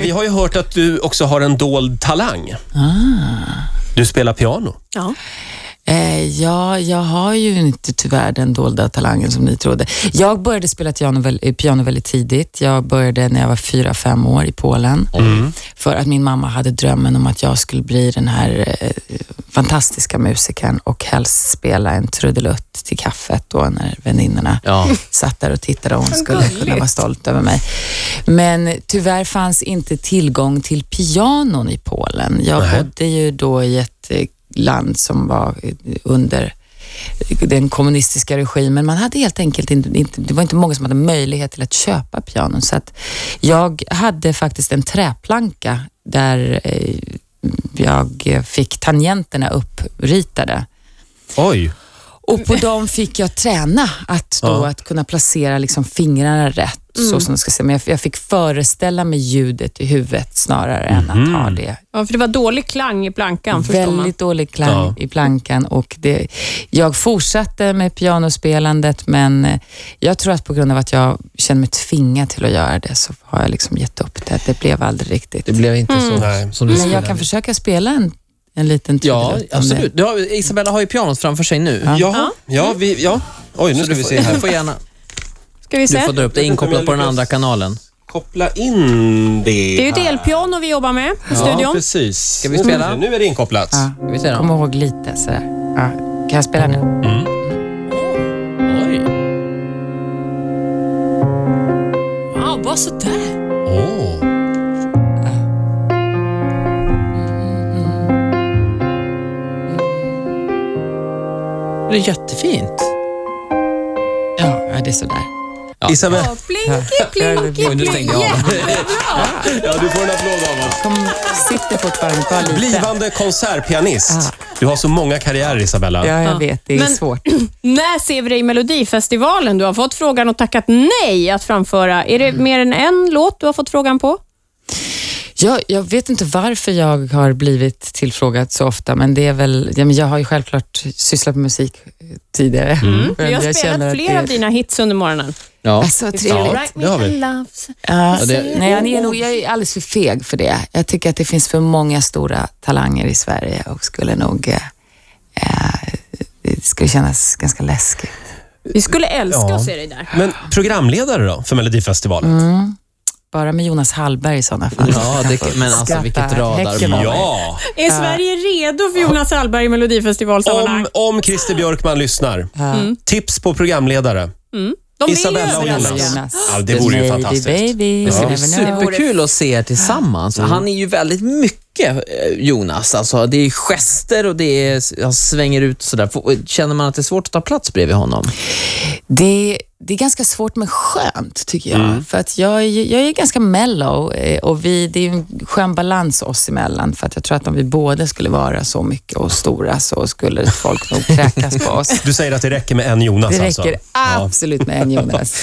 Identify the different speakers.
Speaker 1: Vi har ju hört att du också har en dold talang.
Speaker 2: Ah.
Speaker 1: Du spelar piano.
Speaker 3: Ja.
Speaker 4: Eh, ja, jag har ju inte tyvärr den dolda talangen som ni trodde. Jag började spela piano, väl- eh, piano väldigt tidigt. Jag började när jag var fyra fem år i Polen. För att min mamma hade drömmen om att jag skulle bli den här eh, fantastiska musikern och helst spela en trudelutt till kaffet då när väninnorna
Speaker 2: Ja.
Speaker 4: satt där och tittade och hon skulle
Speaker 3: gulligt.
Speaker 4: kunna vara stolt över mig. Men tyvärr fanns inte tillgång till pianon i Polen. Jag bodde ju då i ett eh, land som var eh, under eh, den kommunistiska regimen. Man hade helt enkelt inte, inte, det var inte många som hade möjlighet till att köpa pianon. Så att jag hade faktiskt en träplanka där eh, jag fick tangenterna uppritade.
Speaker 1: Oj.
Speaker 4: Och på dem fick jag träna att, då,
Speaker 1: Ja.
Speaker 4: att kunna placera liksom fingrarna rätt. Så
Speaker 2: Mm.
Speaker 4: som det ska se. Men jag, jag fick föreställa mig ljudet i huvudet snarare än att ha
Speaker 2: Mhm.
Speaker 4: det.
Speaker 3: ja, för det var dålig klang i plankan förstår man.
Speaker 4: Väldigt dålig klang i plankan och det, jag fortsatte med pianospelandet men eh, jag tror att på grund av att jag kände mig tvingad till att göra det så har jag liksom gett upp det. Det blev aldrig riktigt.
Speaker 2: Det blev inte så
Speaker 1: Nej.
Speaker 2: som du
Speaker 4: men jag
Speaker 2: skulle.
Speaker 4: kan försöka spela en, en liten
Speaker 2: Ja,
Speaker 4: trudelutt om
Speaker 2: absolut. Du har, Isabella har ju pianot framför sig nu.
Speaker 1: Ja, ja, vi, ja. Oj, nu
Speaker 2: Så
Speaker 1: ska
Speaker 2: du
Speaker 1: vi
Speaker 2: får-
Speaker 1: se här.
Speaker 2: Du får gärna
Speaker 3: Ska vi
Speaker 2: du
Speaker 3: se?
Speaker 2: får dra upp det
Speaker 1: Jag vet inte om
Speaker 2: inkopplat
Speaker 1: jag
Speaker 2: på den
Speaker 1: lyckas.
Speaker 2: andra kanalen.
Speaker 1: Koppla in det.
Speaker 3: Det är ju ett elpiano vi jobbar med i studion.
Speaker 1: precis. Ska
Speaker 2: vi spela?
Speaker 1: Nu är det inkopplat.
Speaker 4: det.
Speaker 2: Ska vi se
Speaker 4: Ja,
Speaker 2: då?
Speaker 4: kom ihåg lite sådär. Ja, kan jag spela nu?
Speaker 2: Oj.
Speaker 3: Wow, vad sådär.
Speaker 1: Åh.
Speaker 2: Det är jättefint.
Speaker 4: Ja, ja, det är sådär.
Speaker 1: Isabel,
Speaker 3: Ja, Plinky, plinky,
Speaker 2: Oj, nu
Speaker 3: plinky.
Speaker 2: stängde jag av.
Speaker 1: ja, du får en applåd av oss.
Speaker 4: De sitter fortfarande kvar lite.
Speaker 1: Blivande konsertpianist. Du har så många karriärer, Isabella.
Speaker 4: Ja, jag vet. Det är
Speaker 3: Men-
Speaker 4: svårt.
Speaker 3: När ser vi dig i Melodifestivalen? Du har fått frågan och tackat nej att framföra. Är det mer än en låt du har fått frågan på?
Speaker 4: Jag, jag vet inte varför jag har blivit tillfrågad så ofta, men det är väl... Ja, men jag har ju självklart sysslat med musik eh, tidigare. Men
Speaker 3: Mm. Vi har
Speaker 4: jag känner
Speaker 3: spelat
Speaker 4: att
Speaker 3: flera
Speaker 4: det-
Speaker 3: av dina hits under morgonen.
Speaker 2: Ja.
Speaker 4: Alltså, trevligt.
Speaker 3: Right
Speaker 1: det har
Speaker 3: me
Speaker 1: vi.
Speaker 3: a loves.
Speaker 4: Ja,
Speaker 2: Ja, det-
Speaker 4: nej, jag, är nog, jag är alldeles för feg för det. Jag tycker att det finns för många stora talanger i Sverige och skulle nog... Eh, eh, det skulle kännas ganska läskigt.
Speaker 3: Vi skulle älska
Speaker 1: Ja.
Speaker 3: att se dig där.
Speaker 1: Men programledare då, för Melodifestivalen?
Speaker 4: Bara med Jonas Hallberg i sådana fall.
Speaker 2: Ja, det,
Speaker 4: Jag kan få
Speaker 2: men alltså
Speaker 4: skratta
Speaker 2: vilket
Speaker 4: häcken av
Speaker 2: radarpar.
Speaker 4: mig.
Speaker 1: Ja!
Speaker 3: Är Sverige redo för Jonas Hallberg i
Speaker 1: Om,
Speaker 3: Melodifestivalsammanhang?
Speaker 1: om Christer Björkman lyssnar, tips på programledare.
Speaker 3: De vill
Speaker 1: Isabella och
Speaker 3: överraska.
Speaker 1: Jonas.
Speaker 4: Jonas.
Speaker 1: Ja, det vore ju
Speaker 4: Baby,
Speaker 1: fantastiskt.
Speaker 4: Baby,
Speaker 2: Det ska
Speaker 4: you
Speaker 2: bli
Speaker 4: never know.
Speaker 2: superkul att se er tillsammans.
Speaker 1: Mm.
Speaker 2: Han är ju väldigt mycket eh, Jonas. Alltså, det är gester och det är, han svänger ut sådär. Får- Känner man att det är svårt att ta plats bredvid honom?
Speaker 4: Det, det är ganska svårt men skönt tycker jag.
Speaker 1: Mm.
Speaker 4: För att jag, är ju- jag är ganska mellow eh, och vi, det är ju en skön balans oss emellan. För att jag tror att om vi båda skulle vara så mycket och stora så skulle folk nog kräkas på oss.
Speaker 1: Du säger att det räcker med en Jonas
Speaker 4: Det
Speaker 1: alltså?
Speaker 4: räcker absolut med en Jonas.